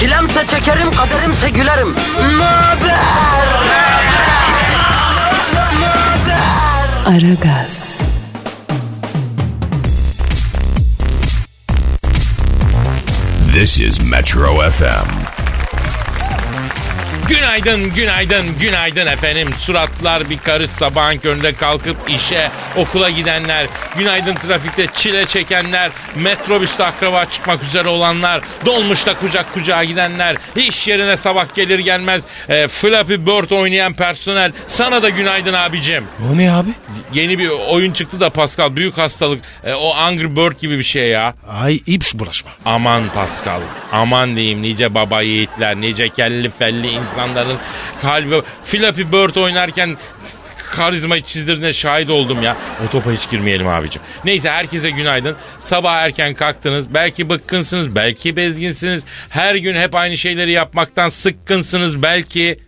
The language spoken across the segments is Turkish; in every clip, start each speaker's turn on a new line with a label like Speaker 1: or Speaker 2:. Speaker 1: Çilemse çekerim, kaderimse gülerim. Möber!
Speaker 2: Aragaz,
Speaker 3: This is Metro FM.
Speaker 4: Günaydın, günaydın, günaydın efendim. Suratlar bir karış sabahın köründe kalkıp işe, okula gidenler, günaydın trafikte çile çekenler, metrobüste akraba çıkmak üzere olanlar, dolmuşta kucak kucağa gidenler, iş yerine sabah gelir gelmez e, Flappy Bird oynayan personel. Sana da günaydın abicim.
Speaker 5: O ne abi?
Speaker 4: Yeni bir oyun çıktı da Pascal büyük hastalık. E, o Angry Bird gibi bir şey ya.
Speaker 5: Ay ipş bulaşma.
Speaker 4: Aman Pascal, aman diyeyim nice baba yiğitler, nice kelli felli insanların kalbi... Flappy Bird oynarken karizma çizdirdiğine şahit oldum ya. O topa hiç girmeyelim abicim. Neyse herkese günaydın. Sabah erken kalktınız. Belki bıkkınsınız, belki bezginsiniz. Her gün hep aynı şeyleri yapmaktan sıkkınsınız belki.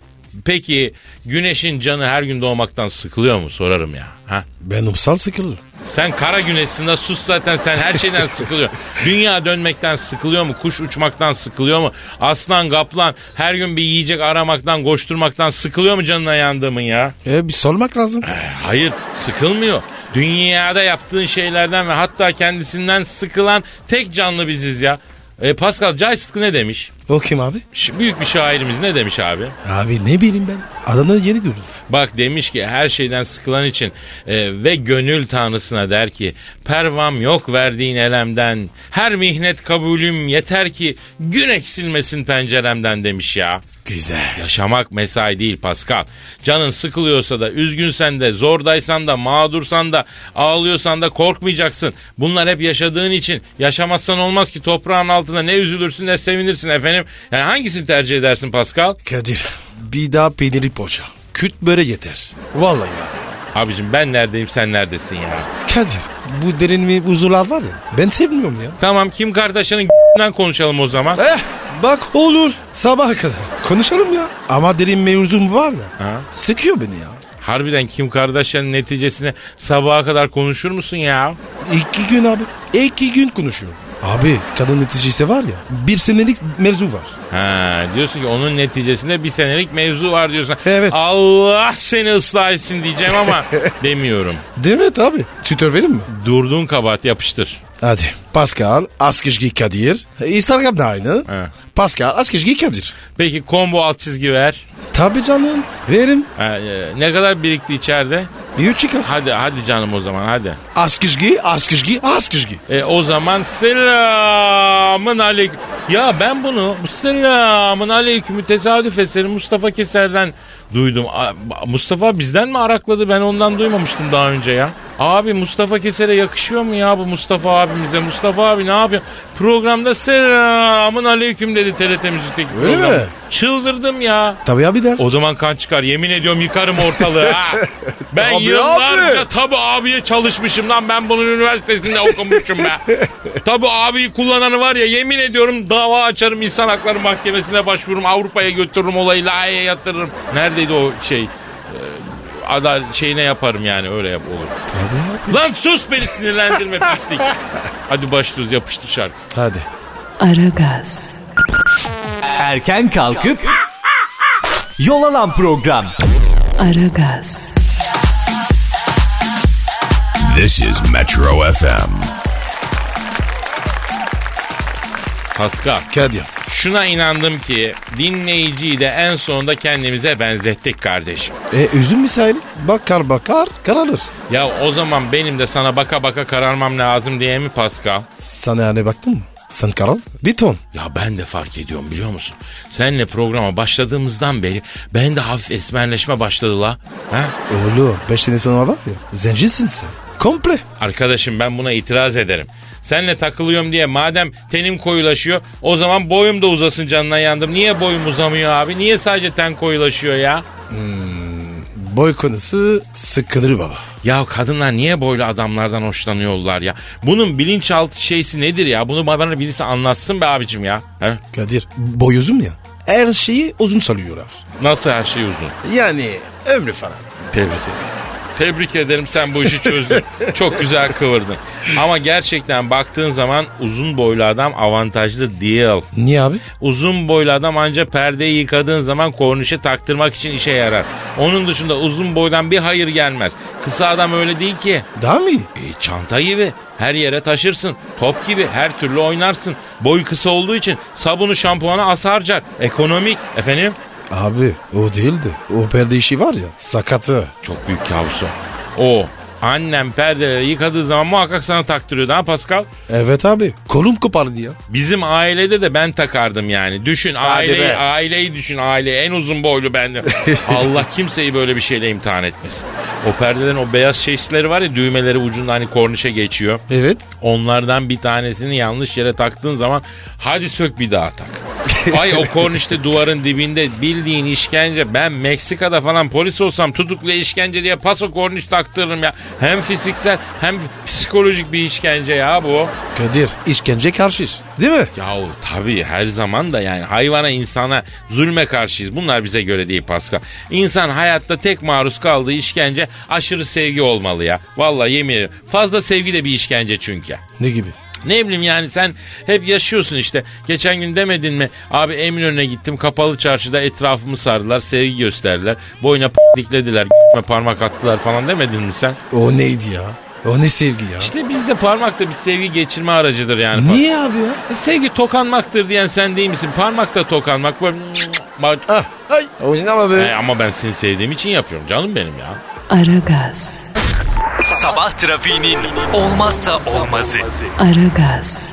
Speaker 4: Peki güneşin canı her gün doğmaktan sıkılıyor mu sorarım ya. Ha?
Speaker 5: Ben umsal sıkılırım.
Speaker 4: Sen kara güneşsin de sus zaten sen her şeyden sıkılıyorsun. Dünya dönmekten sıkılıyor mu? Kuş uçmaktan sıkılıyor mu? Aslan kaplan her gün bir yiyecek aramaktan koşturmaktan sıkılıyor mu canına yandığımın ya? Eh,
Speaker 5: E bir sormak lazım.
Speaker 4: Hayır sıkılmıyor. Dünyada yaptığın şeylerden ve hatta kendisinden sıkılan tek canlı biziz ya. E, Pascal Cahit ne demiş?
Speaker 5: O kim abi?
Speaker 4: Ş- büyük bir şairimiz ne demiş abi?
Speaker 5: Abi ne bileyim ben. Adana yeni durdum.
Speaker 4: Bak demiş ki her şeyden sıkılan için e, ve gönül tanrısına der ki pervam yok verdiğin elemden her mihnet kabulüm yeter ki gün eksilmesin penceremden demiş ya.
Speaker 5: Güzel.
Speaker 4: Yaşamak mesai değil Pascal. Canın sıkılıyorsa da, üzgünsen de, zordaysan da, mağdursan da, ağlıyorsan da korkmayacaksın. Bunlar hep yaşadığın için. Yaşamazsan olmaz ki toprağın altında ne üzülürsün ne sevinirsin efendim. Yani hangisini tercih edersin Pascal?
Speaker 5: Kadir bir daha peyniri poğaça. Kürt böyle yeter. Vallahi ya.
Speaker 4: Abicim ben neredeyim sen neredesin ya?
Speaker 5: Kadir bu derin bir huzurlar var ya. Ben sevmiyorum ya.
Speaker 4: Tamam Kim Kardashian'ın g***den konuşalım o zaman.
Speaker 5: Eh bak olur. Sabaha kadar. Konuşalım ya. Ama derin mevzum var ya.
Speaker 4: Ha?
Speaker 5: Sıkıyor beni ya.
Speaker 4: Harbiden Kim Kardashian'ın neticesine sabaha kadar konuşur musun ya?
Speaker 5: İki gün abi. İki gün konuşuyorum. Abi kadın neticesi var ya. Bir senelik mevzu var.
Speaker 4: Ha, diyorsun ki onun neticesinde bir senelik mevzu var diyorsun.
Speaker 5: Evet.
Speaker 4: Allah seni ıslah etsin diyeceğim ama demiyorum.
Speaker 5: Değil mi abi? Twitter verir mi?
Speaker 4: Durduğun kabahat yapıştır.
Speaker 5: Hadi. Pascal Askışgi Kadir. Instagram'da aynı.
Speaker 4: Evet.
Speaker 5: Pascal Askışgi Kadir.
Speaker 4: Peki combo alt çizgi ver.
Speaker 5: Tabii canım. Verim.
Speaker 4: Ha, e, ne kadar birikti içeride?
Speaker 5: Bir üç çıkar.
Speaker 4: Hadi hadi canım o zaman hadi.
Speaker 5: Askışgi, Askışgi, Askışgi.
Speaker 4: E, o zaman selamın aleyküm. Ya ben bunu bu selamın aleykümü tesadüf eseri Mustafa Keser'den duydum. A- Mustafa bizden mi arakladı ben ondan duymamıştım daha önce ya. Abi Mustafa Keser'e yakışıyor mu ya bu Mustafa abimize? Mustafa abi ne yapıyor? Programda selamın aleyküm dedi TRT Müzik'teki
Speaker 5: Öyle
Speaker 4: programda.
Speaker 5: mi?
Speaker 4: Çıldırdım ya.
Speaker 5: Tabii abi der.
Speaker 4: O zaman kan çıkar. Yemin ediyorum yıkarım ortalığı ha. Ben
Speaker 5: Tabii
Speaker 4: yıllarca
Speaker 5: abi.
Speaker 4: tabi abiye çalışmışım lan. Ben bunun üniversitesinde okumuşum be. tabi abiyi kullananı var ya yemin ediyorum dava açarım. insan hakları mahkemesine başvururum. Avrupa'ya götürürüm olayı. Lahey'e yatırırım. Neredeydi o şey? Ee, Adal şeyine yaparım yani öyle yap olur. Lan sus beni sinirlendirme pislik. Hadi başlıyoruz yapıştır şarkı.
Speaker 5: Hadi.
Speaker 2: Aragaz,
Speaker 6: Erken kalkıp yol alan program.
Speaker 2: Aragaz,
Speaker 3: This is Metro FM.
Speaker 4: Pascal.
Speaker 5: Kadir.
Speaker 4: Şuna inandım ki dinleyiciyi de en sonunda kendimize benzettik kardeşim.
Speaker 5: E üzüm misali. Bakar bakar kararır.
Speaker 4: Ya o zaman benim de sana baka baka kararmam lazım diye mi Pascal?
Speaker 5: Sana yani baktın mı? Sen karar. Bir ton.
Speaker 4: Ya ben de fark ediyorum biliyor musun? Senle programa başladığımızdan beri ben de hafif esmerleşme başladı la. Ha?
Speaker 5: Oğlum 5 sene sonra var ya. Zencisin sen. Komple.
Speaker 4: Arkadaşım ben buna itiraz ederim. Senle takılıyorum diye madem tenim koyulaşıyor o zaman boyum da uzasın canına yandım. Niye boyum uzamıyor abi? Niye sadece ten koyulaşıyor ya?
Speaker 5: Boy konusu sıkılır baba.
Speaker 4: Ya kadınlar niye böyle adamlardan hoşlanıyorlar ya? Bunun bilinçaltı şeysi nedir ya? Bunu bana birisi anlatsın be abicim ya. He?
Speaker 5: Kadir boy uzun ya. Her şeyi uzun salıyorlar.
Speaker 4: Nasıl her şey uzun?
Speaker 5: Yani ömrü falan.
Speaker 4: Tebrik ederim. Tebrik ederim sen bu işi çözdün. Çok güzel kıvırdın. Ama gerçekten baktığın zaman uzun boylu adam avantajlı değil.
Speaker 5: Niye abi?
Speaker 4: Uzun boylu adam anca perdeyi yıkadığın zaman kornişe taktırmak için işe yarar. Onun dışında uzun boydan bir hayır gelmez. Kısa adam öyle değil ki.
Speaker 5: Daha mı iyi?
Speaker 4: E, çanta gibi her yere taşırsın. Top gibi her türlü oynarsın. Boy kısa olduğu için sabunu şampuanı az harcar. Ekonomik efendim.
Speaker 5: Abi o değildi. O perde işi var ya sakatı.
Speaker 4: Çok büyük kabus o. O annem perdeleri yıkadığı zaman muhakkak sana taktırıyordu ha Pascal.
Speaker 5: Evet abi kolum kopardı ya.
Speaker 4: Bizim ailede de ben takardım yani. Düşün aileyi,
Speaker 5: be.
Speaker 4: aileyi düşün aileyi. En uzun boylu bendim. Allah kimseyi böyle bir şeyle imtihan etmesin. O perdelerin o beyaz şeysleri var ya düğmeleri ucunda hani kornişe geçiyor.
Speaker 5: Evet.
Speaker 4: Onlardan bir tanesini yanlış yere taktığın zaman hadi sök bir daha tak. Ay o kornişte duvarın dibinde bildiğin işkence. Ben Meksika'da falan polis olsam tutuklu işkence diye paso korniş taktırırım ya. Hem fiziksel hem psikolojik bir işkence ya bu.
Speaker 5: Kadir işkence karşıyız değil mi?
Speaker 4: Yahu tabii her zaman da yani hayvana insana zulme karşıyız. Bunlar bize göre değil Pascal. İnsan hayatta tek maruz kaldığı işkence aşırı sevgi olmalı ya. Vallahi yemin ederim. Fazla sevgi de bir işkence çünkü.
Speaker 5: Ne gibi?
Speaker 4: Ne bileyim yani sen hep yaşıyorsun işte. Geçen gün demedin mi? Abi Eminönü'ne gittim kapalı çarşıda etrafımı sardılar, sevgi gösterdiler. Boyuna p***liklediler, g***me parmak attılar falan demedin mi sen?
Speaker 5: O neydi ya? O ne sevgi ya?
Speaker 4: İşte bizde parmak da bir sevgi geçirme aracıdır yani.
Speaker 5: Niye abi ya?
Speaker 4: E, sevgi tokanmaktır diyen sen değil misin? Parmak da tokanmak. Böyle... Bak-
Speaker 5: Ah, ay. Oynama be.
Speaker 4: E, ama ben seni sevdiğim için yapıyorum canım benim ya.
Speaker 2: Aragaz,
Speaker 6: Sabah trafiğinin olmazsa olmazı.
Speaker 2: Aragaz,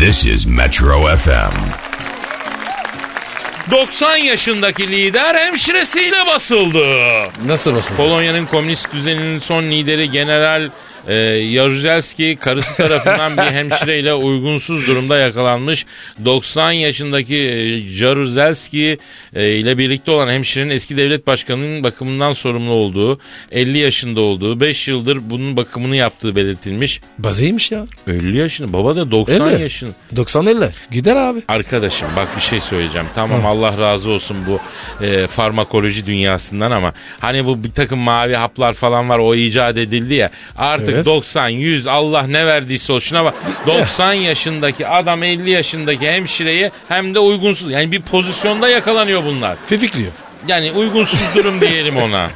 Speaker 3: This is Metro FM.
Speaker 4: 90 yaşındaki lider hemşiresiyle basıldı.
Speaker 5: Nasıl basın?
Speaker 4: Polonya'nın komünist düzeninin son lideri General e, Jaruzelski karısı tarafından bir hemşireyle uygunsuz durumda yakalanmış. 90 yaşındaki e, Jaruzelski e, ile birlikte olan hemşirenin eski devlet başkanının bakımından sorumlu olduğu, 50 yaşında olduğu, 5 yıldır bunun bakımını yaptığı belirtilmiş.
Speaker 5: Bazıymış ya.
Speaker 4: 50 yaşında baba da 90
Speaker 5: Öyle.
Speaker 4: yaşında.
Speaker 5: 90 50. Gider abi.
Speaker 4: Arkadaşım bak bir şey söyleyeceğim. Tamam Allah razı olsun bu e, farmakoloji dünyasından ama hani bu bir takım mavi haplar falan var o icat edildi ya. Artık
Speaker 5: Evet.
Speaker 4: 90, 100 Allah ne verdiyse o şuna bak. 90 yaşındaki adam 50 yaşındaki hemşireye hem de uygunsuz. Yani bir pozisyonda yakalanıyor bunlar.
Speaker 5: Fifikliyor.
Speaker 4: Yani uygunsuz durum diyelim ona.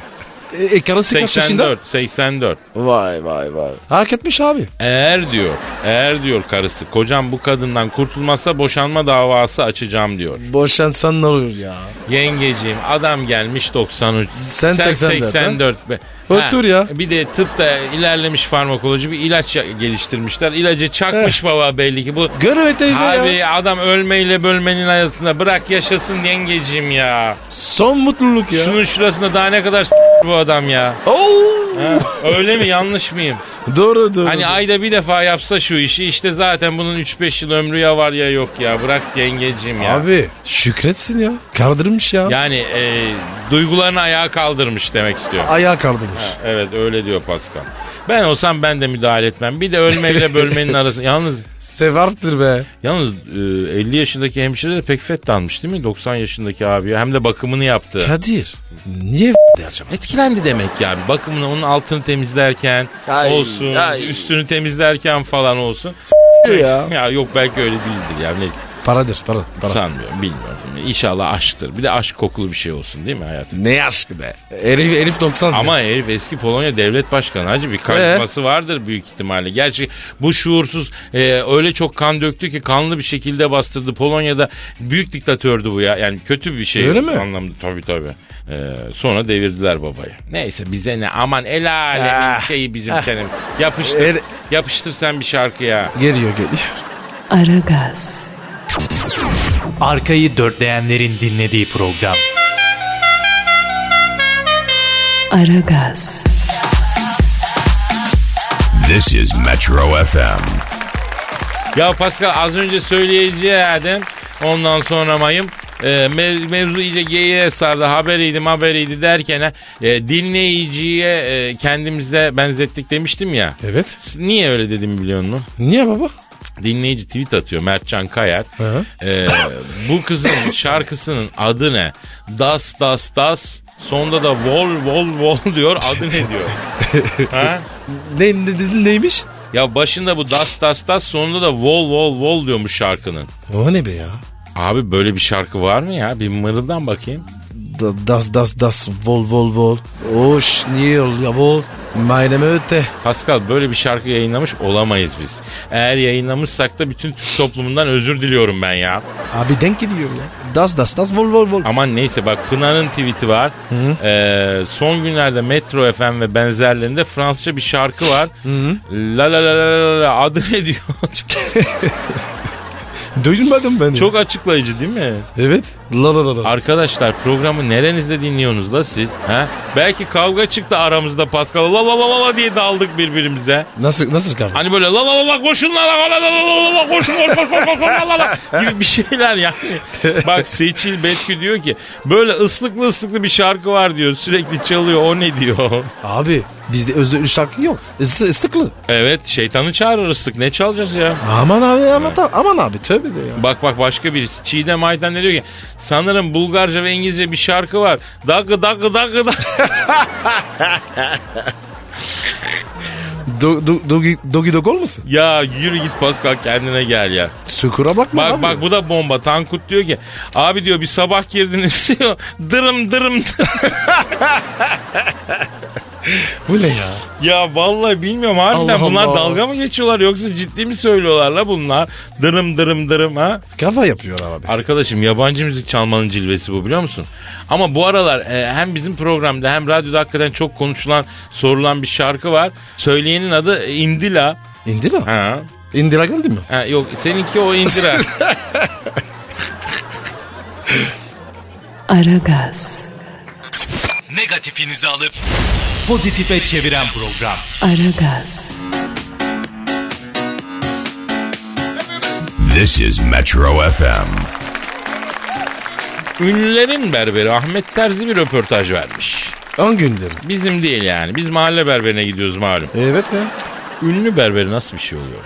Speaker 5: E, e karısı kaç yaşında?
Speaker 4: 84, 84.
Speaker 5: Vay vay vay. Hak etmiş abi.
Speaker 4: Eğer diyor, eğer diyor karısı kocam bu kadından kurtulmazsa boşanma davası açacağım diyor.
Speaker 5: Boşansan ne olur ya?
Speaker 4: Yengeciğim adam gelmiş 93.
Speaker 5: Sen 84,
Speaker 4: be.
Speaker 5: Otur ya.
Speaker 4: Bir de tıpta ilerlemiş farmakoloji bir ilaç ya- geliştirmişler. İlacı çakmış baba belli ki bu.
Speaker 5: Görme teyze
Speaker 4: Abi
Speaker 5: Eh. ya.
Speaker 4: adam ölmeyle bölmenin hayatında bırak yaşasın yengeciğim ya.
Speaker 5: Son mutluluk ya.
Speaker 4: Şunun şurasında daha ne kadar s- bu adam ya.
Speaker 5: Oo!
Speaker 4: Ha, Öyle mi yanlış mıyım?
Speaker 5: Doğru doğru.
Speaker 4: Hani ayda bir defa yapsa şu işi işte zaten bunun 3-5 yıl ömrü ya var ya yok ya. Bırak yengeciğim ya.
Speaker 5: Abi şükretsin ya. Kardırmış ya.
Speaker 4: Yani e, duygularını ayağa kaldırmış demek istiyorum.
Speaker 5: Ayağa kardırmış.
Speaker 4: Evet öyle diyor Pascal. Ben olsam ben de müdahale etmem. Bir de ölmeyle bölmenin arası. Yalnız
Speaker 5: Sevaptır be.
Speaker 4: yalnız e, 50 yaşındaki hemşire de pek fettanmış değil mi? 90 yaşındaki abiye hem de bakımını yaptı.
Speaker 5: Kadir. Niye de acaba?
Speaker 4: Etkilendi demek yani. Bakımını onun altını temizlerken
Speaker 5: Ay,
Speaker 4: olsun,
Speaker 5: ay.
Speaker 4: üstünü temizlerken falan olsun.
Speaker 5: ya.
Speaker 4: Ya yok belki öyle değildir ya. Neyse
Speaker 5: Paradır para. para.
Speaker 4: sanmıyorum bilmiyorum. İnşallah aşktır. Bir de aşk kokulu bir şey olsun değil mi hayatım?
Speaker 5: Ne aşkı be. Herif, herif 90 diyor.
Speaker 4: Ama herif eski Polonya devlet başkanı hacı bir
Speaker 5: Ee?
Speaker 4: karizması vardır büyük ihtimalle. Gerçi bu şuursuz e, öyle çok kan döktü ki kanlı bir şekilde bastırdı. Polonya'da büyük diktatördü bu ya. Yani kötü bir şey.
Speaker 5: Öyle mi?
Speaker 4: Anlamda tabii tabii. E, sonra devirdiler babayı. Neyse bize ne aman el alemin
Speaker 5: Ah. Er-
Speaker 4: şeyi bizim senin. Yapıştır.
Speaker 5: El-
Speaker 4: Yapıştır sen bir şarkıya.
Speaker 5: Geliyor geliyor.
Speaker 2: Aragaz,
Speaker 6: Arkayı dörtleyenlerin dinlediği program.
Speaker 2: Aragaz,
Speaker 3: This is Metro FM.
Speaker 4: Ya Pascal az önce söyleyeceğim. Ondan sonra mayım. E, mev- mevzu iyice geyiğe sardı. Haberiydim haberiydi derken e, dinleyiciye e, kendimize benzettik demiştim ya.
Speaker 5: Evet.
Speaker 4: Niye öyle dedim biliyor musun?
Speaker 5: Niye baba?
Speaker 4: Dinleyici tweet atıyor Mertcan Kayar.
Speaker 5: hı.
Speaker 4: E, bu kızın şarkısının adı ne? Das das das. Sonda da vol vol vol diyor. Adı ne diyor? ha?
Speaker 5: Ne, ne dedin neymiş?
Speaker 4: Ya başında bu das das das sonunda da vol vol vol diyormuş şarkının.
Speaker 5: O ne be ya?
Speaker 4: Abi böyle bir şarkı var mı ya? Bir mırıldan bakayım.
Speaker 5: Da- das das das vol vol vol. Hoş niye ol ya vol. Maileme öte.
Speaker 4: Pascal böyle bir şarkı yayınlamış olamayız biz. Eğer yayınlamışsak da bütün Türk toplumundan özür diliyorum ben ya.
Speaker 5: Abi denk geliyor ya. Das das das vol vol vol.
Speaker 4: Aman neyse bak Pınar'ın tweet'i var. Ee, son günlerde Metro FM ve benzerlerinde Fransızca bir şarkı var. La la la la la la adı ne diyor?
Speaker 5: Duymadım ben.
Speaker 4: Çok açıklayıcı değil mi?
Speaker 5: Evet. La la la la.
Speaker 4: Arkadaşlar programı nerenizde dinliyorsunuz la siz? Ha? Belki kavga çıktı aramızda Pascal. La la la la la diye daldık birbirimize.
Speaker 5: nasıl nasıl kardeşim?
Speaker 4: Hani böyle la la la la koşun la la la la la la la la koşun koş koş koş koş la la la gibi bir şeyler yani. Bak Seçil Betki diyor ki böyle ıslıklı ıslıklı bir şarkı var diyor sürekli çalıyor o ne diyor.
Speaker 5: Abi bizde özlü şarkı yok. Is- ıslıklı.
Speaker 4: Evet şeytanı çağırır ıslık ne çalacağız ya.
Speaker 5: Aman abi aman, ta- aman abi tövbe de ya.
Speaker 4: Bak bak başka birisi Çiğdem Ayten de diyor ki sanırım Bulgarca ve İngilizce bir şarkı var. Dagı dagı dagı dagı.
Speaker 5: Do, do, dogi, dogi dog olmasın?
Speaker 4: ya yürü git Pascal kendine gel ya.
Speaker 5: Sukura bakma
Speaker 4: Bak
Speaker 5: abi.
Speaker 4: bak bu da bomba. Tankut diyor ki abi diyor bir sabah girdiniz diyor. Dırım dırım dırım.
Speaker 5: Bu ne ya?
Speaker 4: Ya vallahi bilmiyorum harbiden
Speaker 5: Allah
Speaker 4: bunlar
Speaker 5: Allah.
Speaker 4: dalga mı geçiyorlar yoksa ciddi mi söylüyorlar la bunlar? Dırım dırım dırım ha.
Speaker 5: Kafa yapıyor abi.
Speaker 4: Arkadaşım yabancı müzik çalmanın cilvesi bu biliyor musun? Ama bu aralar e, hem bizim programda hem radyoda hakikaten çok konuşulan sorulan bir şarkı var. Söyleyenin adı Indila.
Speaker 5: İndira.
Speaker 4: Ha.
Speaker 5: İndira geldi mi?
Speaker 4: ha yok seninki o Indira.
Speaker 2: Aragaz,
Speaker 6: Negatifinizi alıp pozitife çeviren program.
Speaker 2: Aragaz,
Speaker 3: This is Metro FM.
Speaker 4: Ünlülerin berberi Ahmet Terzi bir röportaj vermiş.
Speaker 5: 10 gündür.
Speaker 4: Bizim değil yani. Biz mahalle berberine gidiyoruz malum.
Speaker 5: Evet ya.
Speaker 4: Ünlü berberi nasıl bir şey oluyor?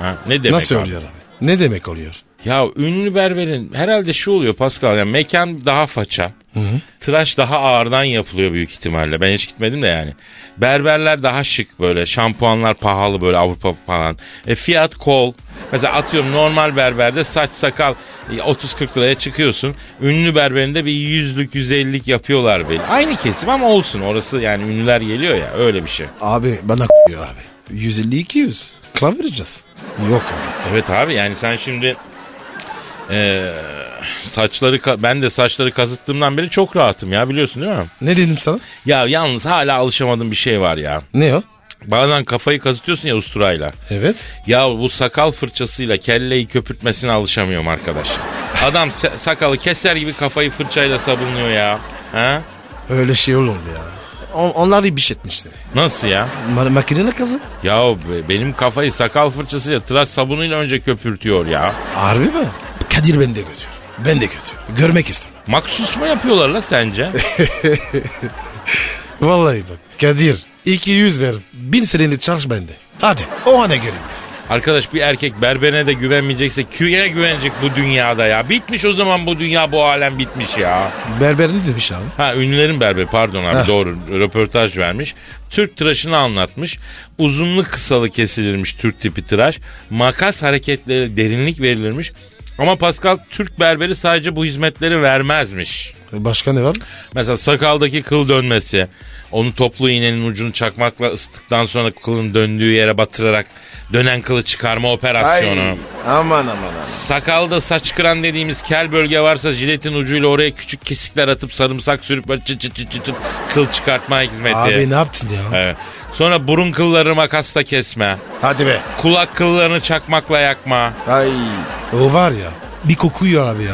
Speaker 4: Ha, ne demek
Speaker 5: Nasıl
Speaker 4: abi?
Speaker 5: oluyor abi? Ne demek oluyor?
Speaker 4: Ya ünlü berberin herhalde şu oluyor Pascal yani mekan daha faça. Tıraş daha ağırdan yapılıyor büyük ihtimalle. Ben hiç gitmedim de yani. Berberler daha şık böyle. Şampuanlar pahalı böyle Avrupa falan. E, fiyat kol. Mesela atıyorum normal berberde saç sakal e, 30-40 liraya çıkıyorsun. Ünlü berberinde bir yüzlük 150'lik yapıyorlar belli. Aynı kesim ama olsun. Orası yani ünlüler geliyor ya öyle bir şey.
Speaker 5: Abi bana k***yor abi. 150-200. Klavye vereceğiz. Yok abi.
Speaker 4: Evet abi yani sen şimdi eee, saçları ka- ben de saçları kazıttığımdan beri çok rahatım ya biliyorsun değil mi?
Speaker 5: Ne dedim sana?
Speaker 4: Ya yalnız hala alışamadığım bir şey var ya.
Speaker 5: Ne o?
Speaker 4: Bazen kafayı kazıtıyorsun ya usturayla.
Speaker 5: Evet.
Speaker 4: Ya bu sakal fırçasıyla kelleyi köpürtmesine alışamıyorum arkadaş. Adam se- sakalı keser gibi kafayı fırçayla sabunluyor ya. Ha?
Speaker 5: Öyle şey olur mu ya? On, onlar bir şey etmişti.
Speaker 4: Nasıl ya?
Speaker 5: Ma- makine kazı.
Speaker 4: Ya be- benim kafayı sakal fırçasıyla tıraş sabunuyla önce köpürtüyor ya.
Speaker 5: Harbi mi? Kadir beni de götür. Ben de götür. Görmek istedim.
Speaker 4: Maksus mu yapıyorlar la sence?
Speaker 5: Vallahi bak. Kadir 200 ver. Bin seneni çarş bende. Hadi o hane gelin.
Speaker 4: Arkadaş bir erkek berbere de güvenmeyecekse küye güvenecek bu dünyada ya. Bitmiş o zaman bu dünya bu alem bitmiş ya.
Speaker 5: Berber ne demiş abi?
Speaker 4: Ha ünlülerin berberi pardon abi
Speaker 5: Heh.
Speaker 4: doğru röportaj vermiş. Türk tıraşını anlatmış. Uzunlu kısalı kesilirmiş Türk tipi tıraş. Makas hareketleri derinlik verilirmiş. Ama Pascal Türk berberi sadece bu hizmetleri vermezmiş.
Speaker 5: Başka ne var?
Speaker 4: Mesela sakaldaki kıl dönmesi. Onu toplu iğnenin ucunu çakmakla ısıttıktan sonra kılın döndüğü yere batırarak dönen kılı çıkarma operasyonu.
Speaker 5: aman aman aman.
Speaker 4: Sakalda saç kıran dediğimiz kel bölge varsa jiletin ucuyla oraya küçük kesikler atıp sarımsak sürüp böyle çıt çıt çıt çıt çıt kıl çıkartma hizmeti.
Speaker 5: Abi ne yaptın ya?
Speaker 4: Evet. Sonra burun kılları makasla kesme.
Speaker 5: Hadi be.
Speaker 4: Kulak kıllarını çakmakla yakma.
Speaker 5: Ay. O var ya. Bir kokuyor abi ya.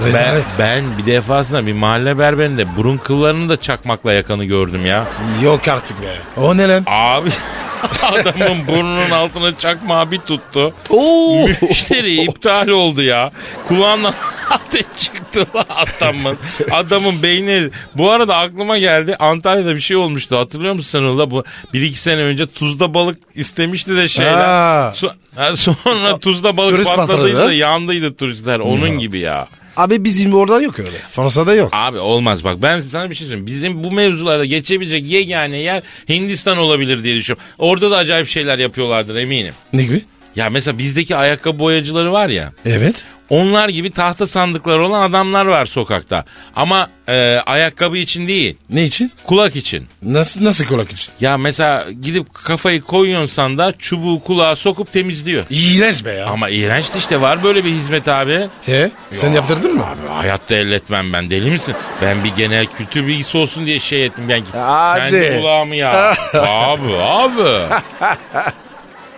Speaker 4: Ben,
Speaker 5: Rezalet.
Speaker 4: ben bir defasında bir mahalle berberinde burun kıllarını da çakmakla yakanı gördüm ya.
Speaker 5: Yok artık be. O ne lan?
Speaker 4: Abi adamın burnunun altına çakmağı bir tuttu.
Speaker 5: Oo.
Speaker 4: Müşteri iptal oldu ya. Kulağından ateş çıktı lan adamın. Adamın beyni. Bu arada aklıma geldi. Antalya'da bir şey olmuştu. Hatırlıyor musun sen Uğur'la? Bu bir iki sene önce tuzda balık istemişti de şeyler.
Speaker 5: Ha.
Speaker 4: So- ha, sonra tuzda balık
Speaker 5: Turist
Speaker 4: patladıydı
Speaker 5: patladı.
Speaker 4: da yandıydı turistler. Onun gibi ya.
Speaker 5: Abi bizim oradan yok öyle. Fransa'da yok.
Speaker 4: Abi olmaz bak ben sana bir şey söyleyeyim. Bizim bu mevzulara geçebilecek yegane yer Hindistan olabilir diye düşünüyorum. Orada da acayip şeyler yapıyorlardır eminim.
Speaker 5: Ne gibi?
Speaker 4: Ya mesela bizdeki ayakkabı boyacıları var ya.
Speaker 5: Evet.
Speaker 4: Onlar gibi tahta sandıkları olan adamlar var sokakta. Ama e, ayakkabı için değil,
Speaker 5: Ne için?
Speaker 4: kulak için.
Speaker 5: Nasıl nasıl kulak için?
Speaker 4: Ya mesela gidip kafayı koyuyorsun sandığa çubuğu kulağa sokup temizliyor.
Speaker 5: İğrenç be ya.
Speaker 4: Ama iğrenç işte var böyle bir hizmet abi.
Speaker 5: He? Sen yaptırdın mı?
Speaker 4: Hayatta elletmem ben deli misin? Ben bir genel kültür bilgisi olsun diye şey ettim. Ben,
Speaker 5: Hadi.
Speaker 4: Kendi kulağımı ya. abi abi.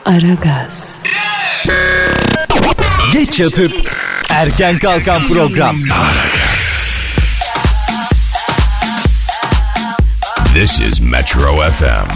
Speaker 2: Aragaz,
Speaker 6: Geç yatıp erken kalkan program.
Speaker 3: This is Metro FM.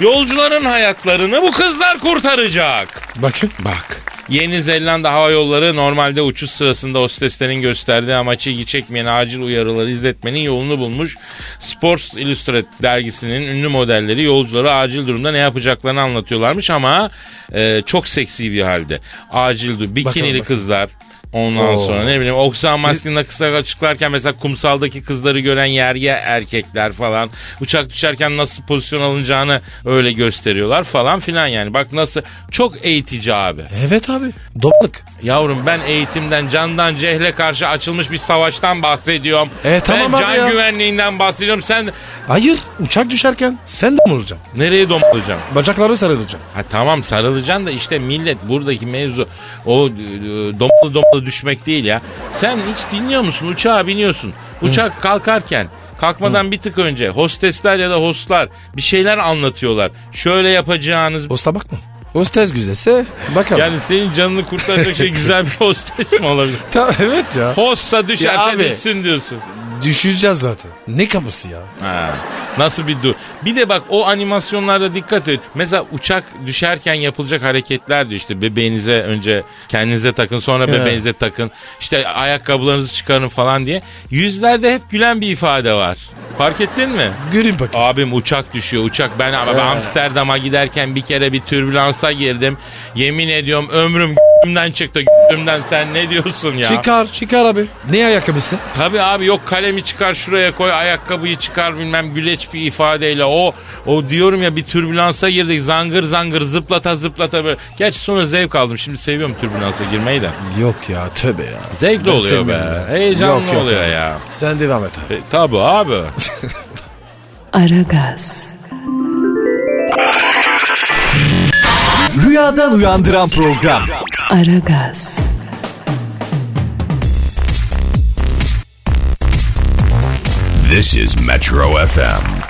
Speaker 4: Yolcuların hayatlarını bu kızlar kurtaracak.
Speaker 5: Bakın.
Speaker 4: Bak. Yeni Zelanda Hava Yolları normalde uçuş sırasında hosteslerin gösterdiği amaç ilgi çekmeyen acil uyarıları izletmenin yolunu bulmuş. Sports Illustrated dergisinin ünlü modelleri yolculara acil durumda ne yapacaklarını anlatıyorlarmış ama e, çok seksi bir halde. Acil du bikinili
Speaker 5: Bakalım, bakalım.
Speaker 4: kızlar. Ondan sonra ne bileyim Oksana Maskin'le kısa açıklarken mesela kumsaldaki kızları gören yerge erkekler falan. Uçak düşerken nasıl pozisyon alınacağını öyle gösteriyorlar falan filan yani. Bak nasıl çok eğitici abi.
Speaker 5: Evet abi. Dopluk.
Speaker 4: Yavrum ben eğitimden candan cehle karşı açılmış bir savaştan bahsediyorum.
Speaker 5: E, tamam
Speaker 4: ben
Speaker 5: abi
Speaker 4: can
Speaker 5: ya.
Speaker 4: güvenliğinden bahsediyorum. Sen
Speaker 5: Hayır. Uçak düşerken sen de mi olacaksın?
Speaker 4: nereye domlayacaksın?
Speaker 5: Bacakları sarılacaksın.
Speaker 4: Ha tamam sarılacaksın da işte millet buradaki mevzu o e, domalı domalı düşmek değil ya. Sen hiç dinliyor musun? Uçağa biniyorsun. Uçak kalkarken kalkmadan bir tık önce hostesler ya da hostlar bir şeyler anlatıyorlar. Şöyle yapacağınız
Speaker 5: Hosta bakma. Hostez güzelse bakalım.
Speaker 4: yani senin canını kurtaracak şey güzel bir hostes mi olabilir?
Speaker 5: Ta- evet ya.
Speaker 4: Hossa
Speaker 5: Ya
Speaker 4: düşerse
Speaker 5: abi.
Speaker 4: düşsün diyorsun.
Speaker 5: Düşeceğiz zaten. Ne kapısı ya?
Speaker 4: Ha, nasıl bir dur. Bir de bak o animasyonlarda dikkat et. Mesela uçak düşerken yapılacak hareketler diyor işte bebeğinize önce kendinize takın sonra bebeğinize takın. İşte ayakkabılarınızı çıkarın falan diye. Yüzlerde hep gülen bir ifade var. Fark ettin mi?
Speaker 5: Göreyim bakayım.
Speaker 4: Abim uçak düşüyor uçak. Ben ama ben Amsterdam'a giderken bir kere bir türbülansa girdim. Yemin ediyorum ömrüm g***ümden çıktı g***ümden sen ne diyorsun ya?
Speaker 5: Çıkar çıkar abi. Ne ayakkabısı?
Speaker 4: Tabii abi yok kalemi çıkar şuraya koy ayakkabıyı çıkar bilmem güleç bir ifadeyle o o diyorum ya bir türbülansa girdik zangır zangır zıplata zıplata böyle. Gerçi sonra zevk aldım şimdi seviyorum türbülansa girmeyi de.
Speaker 5: Yok ya tövbe ya.
Speaker 4: Zevkli
Speaker 5: Ben
Speaker 4: oluyor be
Speaker 5: sevmiyorum ben.
Speaker 4: heyecanlı
Speaker 5: Yok, yok
Speaker 4: oluyor
Speaker 5: abi.
Speaker 4: ya.
Speaker 5: Sen devam et abi.
Speaker 4: E, tabii abi.
Speaker 2: Aragaz,
Speaker 6: Rüyadan uyandıran program.
Speaker 2: Aragaz,
Speaker 3: This is Metro FM.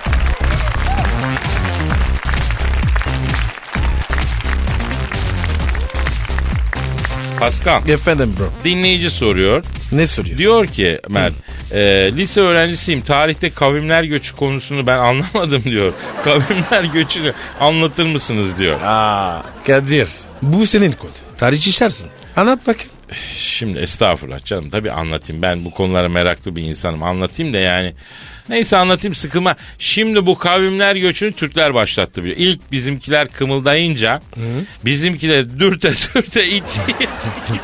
Speaker 4: Paskal
Speaker 5: Efendim bro.
Speaker 4: dinleyici soruyor.
Speaker 5: Ne soruyor?
Speaker 4: Diyor ki Mert e, lise öğrencisiyim tarihte kavimler göçü konusunu ben anlamadım diyor. Kavimler göçünü anlatır mısınız diyor.
Speaker 5: Aa, Kadir. Bu senin kod. Tarih işlersin. Anlat bakayım.
Speaker 4: Şimdi estağfurullah canım tabii anlatayım. Ben bu konulara meraklı bir insanım. Anlatayım da yani. Neyse anlatayım sıkılma. Şimdi bu kavimler göçünü Türkler başlattı biliyor. İlk bizimkiler kımıldayınca bizimkiler dürte dürte itti.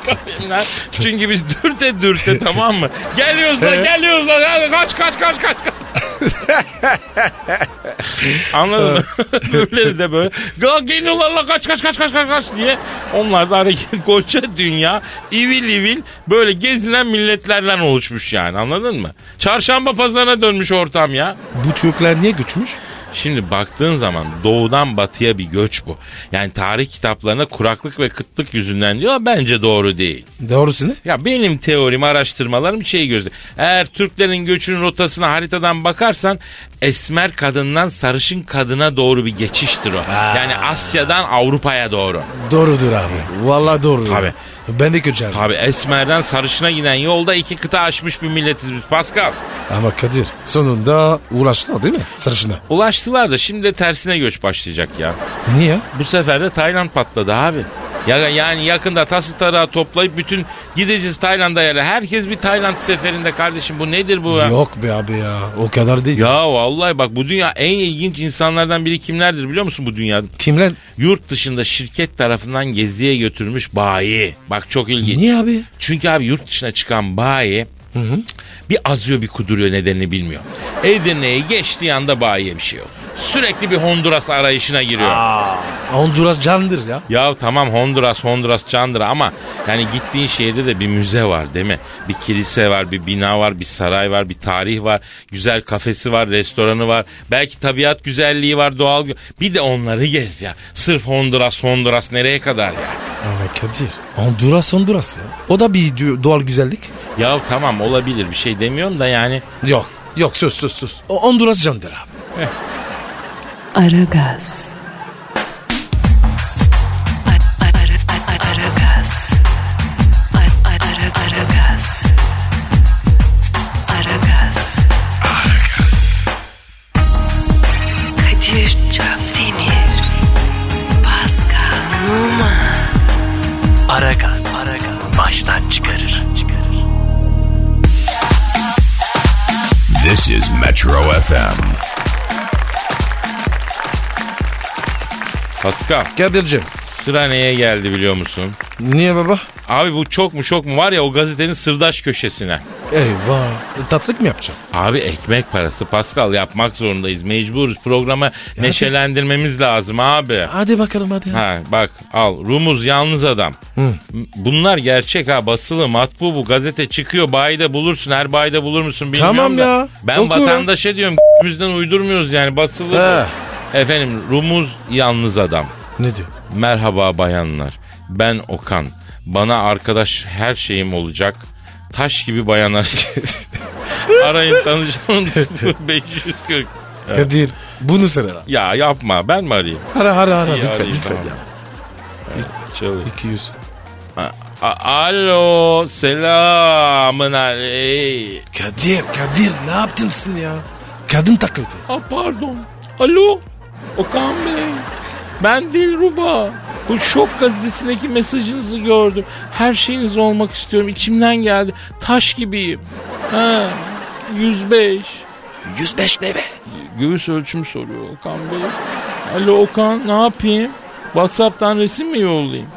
Speaker 4: kavimler. Çünkü biz dürte dürte tamam mı? Geliyoruz lan geliyoruz lan. Hadi Kaç kaç kaç kaç. kaç. Anladın mı? Öbürleri de böyle "Ya geliyorlar la kaç kaç kaç kaç kaç kaç diye. Onlar da hareket koca dünya ivil ivil böyle gezilen milletlerden oluşmuş yani anladın mı? Çarşamba pazarına dönmüş ortam ya.
Speaker 5: Bu Türkler niye göçmüş?
Speaker 4: Şimdi baktığın zaman doğudan batıya bir göç bu. Yani tarih kitaplarına kuraklık ve kıtlık yüzünden diyor bence doğru değil.
Speaker 5: Doğrusu ne?
Speaker 4: Ya benim teorim, araştırmalarım şey gördü. Eğer Türklerin göçünün rotasına haritadan bakarsan esmer kadından sarışın kadına doğru bir geçiştir o.
Speaker 5: Ha.
Speaker 4: Yani Asya'dan Avrupa'ya doğru.
Speaker 5: Doğrudur abi. Vallahi doğru.
Speaker 4: Tabii.
Speaker 5: Ben de köçerim.
Speaker 4: Tabi esmerden sarışına giden yolda iki kıta aşmış bir milletiz biz Pascal.
Speaker 5: Ama Kadir sonunda uğraştılar değil mi? Sarışına.
Speaker 4: Ulaştılar da şimdi de tersine göç başlayacak ya.
Speaker 5: Niye?
Speaker 4: Bu sefer de Tayland patladı abi. Ya yani yakında tası tarağı toplayıp bütün gideceğiz Tayland'a yani. Herkes bir Tayland seferinde kardeşim bu nedir bu ya?
Speaker 5: Yok be abi ya. O kadar değil.
Speaker 4: Ya vallahi bak bu dünya en ilginç insanlardan biri kimlerdir biliyor musun bu dünyada?
Speaker 5: Kim lan?
Speaker 4: Yurt dışında şirket tarafından geziye götürmüş bayi. Bak çok ilginç.
Speaker 5: Niye abi?
Speaker 4: Çünkü abi yurt dışına çıkan bayi bir azıyor bir kuduruyor nedenini bilmiyor. Edirne'yi geçtiği anda bayiye bir şey yok. Sürekli bir Honduras arayışına giriyor.
Speaker 5: Honduras candır ya.
Speaker 4: Ya tamam Honduras Honduras Candıra ama yani gittiğin şehirde de bir müze var değil mi? Bir kilise var, bir bina var, bir saray var, bir tarih var, güzel kafesi var, restoranı var. Belki tabiat güzelliği var, doğal. gü- Bir de onları gez ya. Sırf Honduras Honduras nereye kadar ya?
Speaker 5: Ama Kadir. Honduras Honduras ya. O da bir dü- doğal güzellik.
Speaker 4: Ya tamam olabilir bir şey demiyorum da yani
Speaker 5: Yok. Yok sus sus sus. O Honduras candır abi.
Speaker 2: Aragaz. Aragaz. Aragaz. Aragaz. Kadir Çöptemir. Pascal Numa.
Speaker 7: Aragaz. Baştan çıkarır.
Speaker 3: This is Metro FM.
Speaker 4: Pascal
Speaker 5: Kadir'cim.
Speaker 4: sıra neye geldi biliyor musun?
Speaker 5: Niye baba?
Speaker 4: Abi bu çok mu çok mu var ya o gazetenin sırdaş köşesine.
Speaker 5: Eyvah. Tatlık mı yapacağız?
Speaker 4: Abi ekmek parası Pascal yapmak zorundayız. Mecburuz programı neşelendirmemiz lazım abi.
Speaker 5: Hadi bakalım hadi.
Speaker 4: Ha bak al Rumuz yalnız adam. M- Bunlar gerçek ha basılı matbu bu gazete çıkıyor bayide bulursun her bayide bulur musun bilmiyorum
Speaker 5: Tamam
Speaker 4: da.
Speaker 5: ya,
Speaker 4: Ben
Speaker 5: okuyorum.
Speaker 4: vatandaşa diyorum bizden uydurmuyoruz yani basılı.
Speaker 5: He.
Speaker 4: bu. Efendim Rumuz yalnız adam.
Speaker 5: Ne diyor?
Speaker 4: Merhaba bayanlar. Ben Okan. Bana arkadaş her şeyim olacak. Taş gibi bayanlar. Arayın tanışalım 0540.
Speaker 5: Kadir bunu sıra.
Speaker 4: Ya yapma ben mi arayayım?
Speaker 5: Ara ara ara
Speaker 4: İyi,
Speaker 5: lütfen
Speaker 4: arayayım,
Speaker 5: lütfen
Speaker 4: tamam.
Speaker 5: ya.
Speaker 4: Çalıyor.
Speaker 5: 200.
Speaker 4: A- a- Alo selamın aleyh.
Speaker 5: Kadir Kadir ne yaptın sen ya? Kadın takıldı.
Speaker 4: Aa, pardon. Alo Okan Bey. Ben Dilruba. Bu şok gazetesindeki mesajınızı gördüm. Her şeyiniz olmak istiyorum. İçimden geldi. Taş gibiyim. Ha, 105.
Speaker 5: 105 ne be?
Speaker 4: Göğüs ölçümü soruyor Okan Bey. Alo Okan ne yapayım? Whatsapp'tan resim mi yollayayım?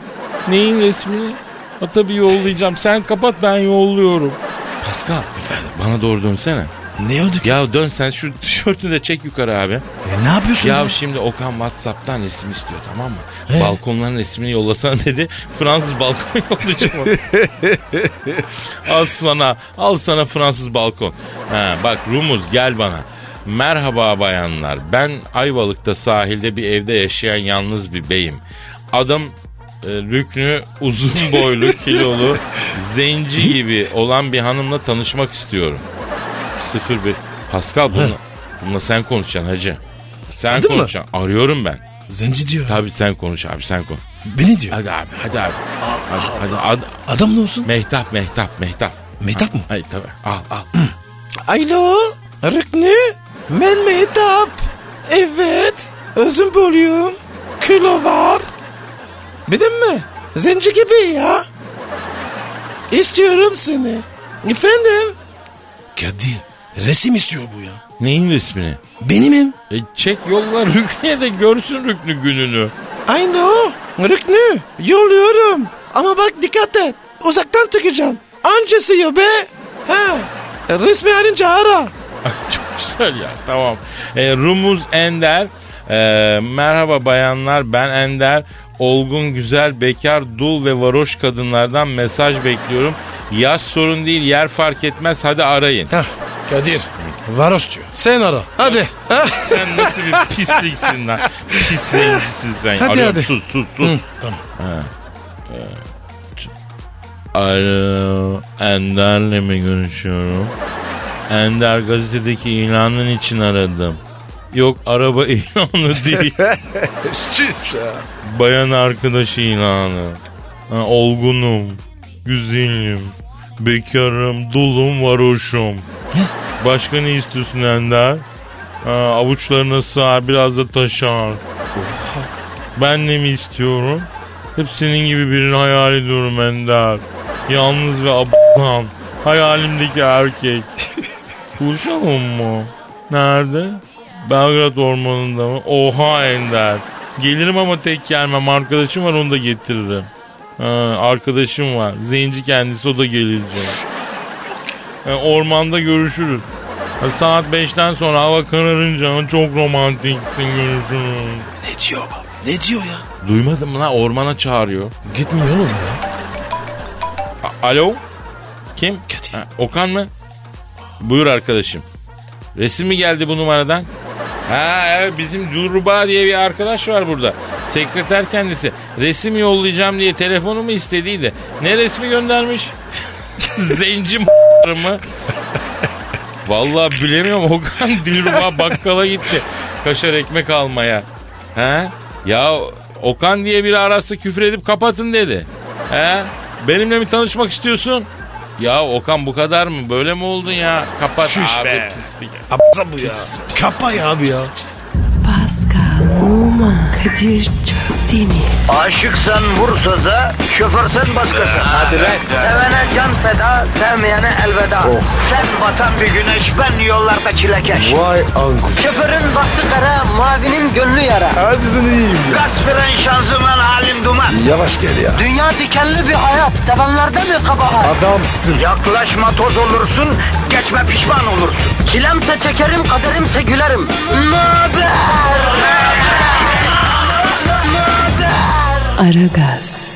Speaker 4: Neyin resmini? Ha tabii yollayacağım. Sen kapat ben yolluyorum. Pascal bana doğru dönsene.
Speaker 5: Ne oldu ki?
Speaker 4: Ya dön sen şu tişörtünü de çek yukarı abi.
Speaker 5: E, ne yapıyorsun?
Speaker 4: Ya
Speaker 5: be?
Speaker 4: şimdi Okan Whatsapp'tan resim istiyor tamam mı?
Speaker 5: He.
Speaker 4: Balkonların resmini yollasana dedi. Fransız balkon yollayacağım. al sana, al sana Fransız balkon. Ha, bak Rumuz gel bana. Merhaba bayanlar. Ben Ayvalık'ta sahilde bir evde yaşayan yalnız bir beyim. Adım e, Rüknü uzun boylu, kilolu, zenci gibi olan bir hanımla tanışmak istiyorum. 01 Pascal bununla, bununla sen konuşacaksın hacı. Sen
Speaker 5: Anladın mı?
Speaker 4: konuşacaksın. Arıyorum ben.
Speaker 5: Zenci diyor.
Speaker 4: Tabii sen konuş abi sen konuş.
Speaker 5: Beni diyor.
Speaker 4: Hadi abi hadi abi. Hadi, hadi, hadi.
Speaker 5: Adam ne olsun?
Speaker 4: Mehtap mehtap mehtap.
Speaker 5: Mehtap mı?
Speaker 4: Hayır tabii al al.
Speaker 5: Alo. Rıknı. Ben Mehtap. Evet. Özüm bölüyorum. Kilo var. Bildin mi? Zenci gibi ya. İstiyorum seni. Efendim? Kadir. Resim istiyor bu ya.
Speaker 4: Neyin resmini?
Speaker 5: Benimim.
Speaker 4: E, çek yolla Rüknü'ye de görsün Rüknü gününü.
Speaker 5: Aynı o. Rüknü. Yolluyorum. Ama bak dikkat et. Uzaktan tıkacaksın. Anca sıyıyor be. Ha. Resmi arınca ara.
Speaker 4: Ay, Çok güzel ya tamam. E, Rumuz Ender. E, merhaba bayanlar ben Ender. Olgun, güzel, bekar, dul ve varoş kadınlardan mesaj bekliyorum. Yaş sorun değil yer fark etmez hadi arayın.
Speaker 5: Hah. Kadir. Varoş diyor. Sen ara. Hadi. Hah.
Speaker 4: sen nasıl bir pisliksin lan. Pis zencisin sen.
Speaker 5: Hadi,
Speaker 4: Arıyorum,
Speaker 5: hadi.
Speaker 4: Sus sus sus.
Speaker 5: tamam.
Speaker 4: Ha, e, ç- Alo Ender'le mi görüşüyorum? Ender gazetedeki ilanın için aradım. Yok araba ilanı değil.
Speaker 5: Şiş ya.
Speaker 4: Bayan arkadaş ilanı. Ha, olgunum, güzelim, bekarım, dulum, varoşum. Başka ne istiyorsun Ender? Ha, avuçlarına sığar, biraz da taşar. Ben de mi istiyorum? Hep senin gibi birini hayal ediyorum Ender. Yalnız ve ablan. Hayalimdeki erkek. Buluşalım mı? Nerede? Belgrad Ormanı'nda mı? Oha Ender. Gelirim ama tek gelmem. Arkadaşım var onu da getiririm. Ha, arkadaşım var. Zenci kendisi o da gelecek. Ha, ormanda görüşürüz. Ha, saat 5'ten sonra hava kararınca "Ha, çok romantiksin görüşürüz.
Speaker 5: Ne diyor baba? Ne diyor ya?
Speaker 4: Duymadın mı lan ormana çağırıyor.
Speaker 5: Gitmiyor oğlum ya.
Speaker 4: A- Alo? Kim?
Speaker 5: Kadir.
Speaker 4: Ha, Okan mı? Buyur arkadaşım. Resim mi geldi bu numaradan? Ha evet bizim Durba diye bir arkadaş var burada. Sekreter kendisi. Resim yollayacağım diye telefonumu istediydi. Ne resmi göndermiş? Zenci m- mı? Vallahi bilemiyorum Okan Dilruba bakkala gitti. Kaşar ekmek almaya. He? Ya Okan diye biri ararsa küfür edip kapatın dedi. He? Benimle mi tanışmak istiyorsun? Ya Okan bu kadar mı? Böyle mi oldun ya? Kapat
Speaker 5: Şuş
Speaker 4: abi
Speaker 5: be.
Speaker 4: pislik.
Speaker 5: Abza bu ya. Kapa ya abi ya.
Speaker 2: Pascal, Oman, Kadir çok değil mi?
Speaker 1: Aşıksan vursa da, şoförsen başkasın. Hadi
Speaker 5: lan.
Speaker 1: Sevene can feda, sevmeyene elveda. Sen batan bir güneş, ben yollarda çilekeş.
Speaker 5: Vay anku.
Speaker 1: Şoförün baktı kara, mavinin gönlü yara.
Speaker 5: Hadi sen iyiyim ya.
Speaker 1: Kasperen şanzıman halin duman.
Speaker 5: Yavaş gel ya.
Speaker 1: Dünya dikenli bir hayat, sevenlerde mi kabahar?
Speaker 5: Adamsın.
Speaker 1: Yaklaşma toz olursun, geçme pişman olursun. Çilemse çekerim, kaderimse gülerim. Möber!
Speaker 2: Aragaz.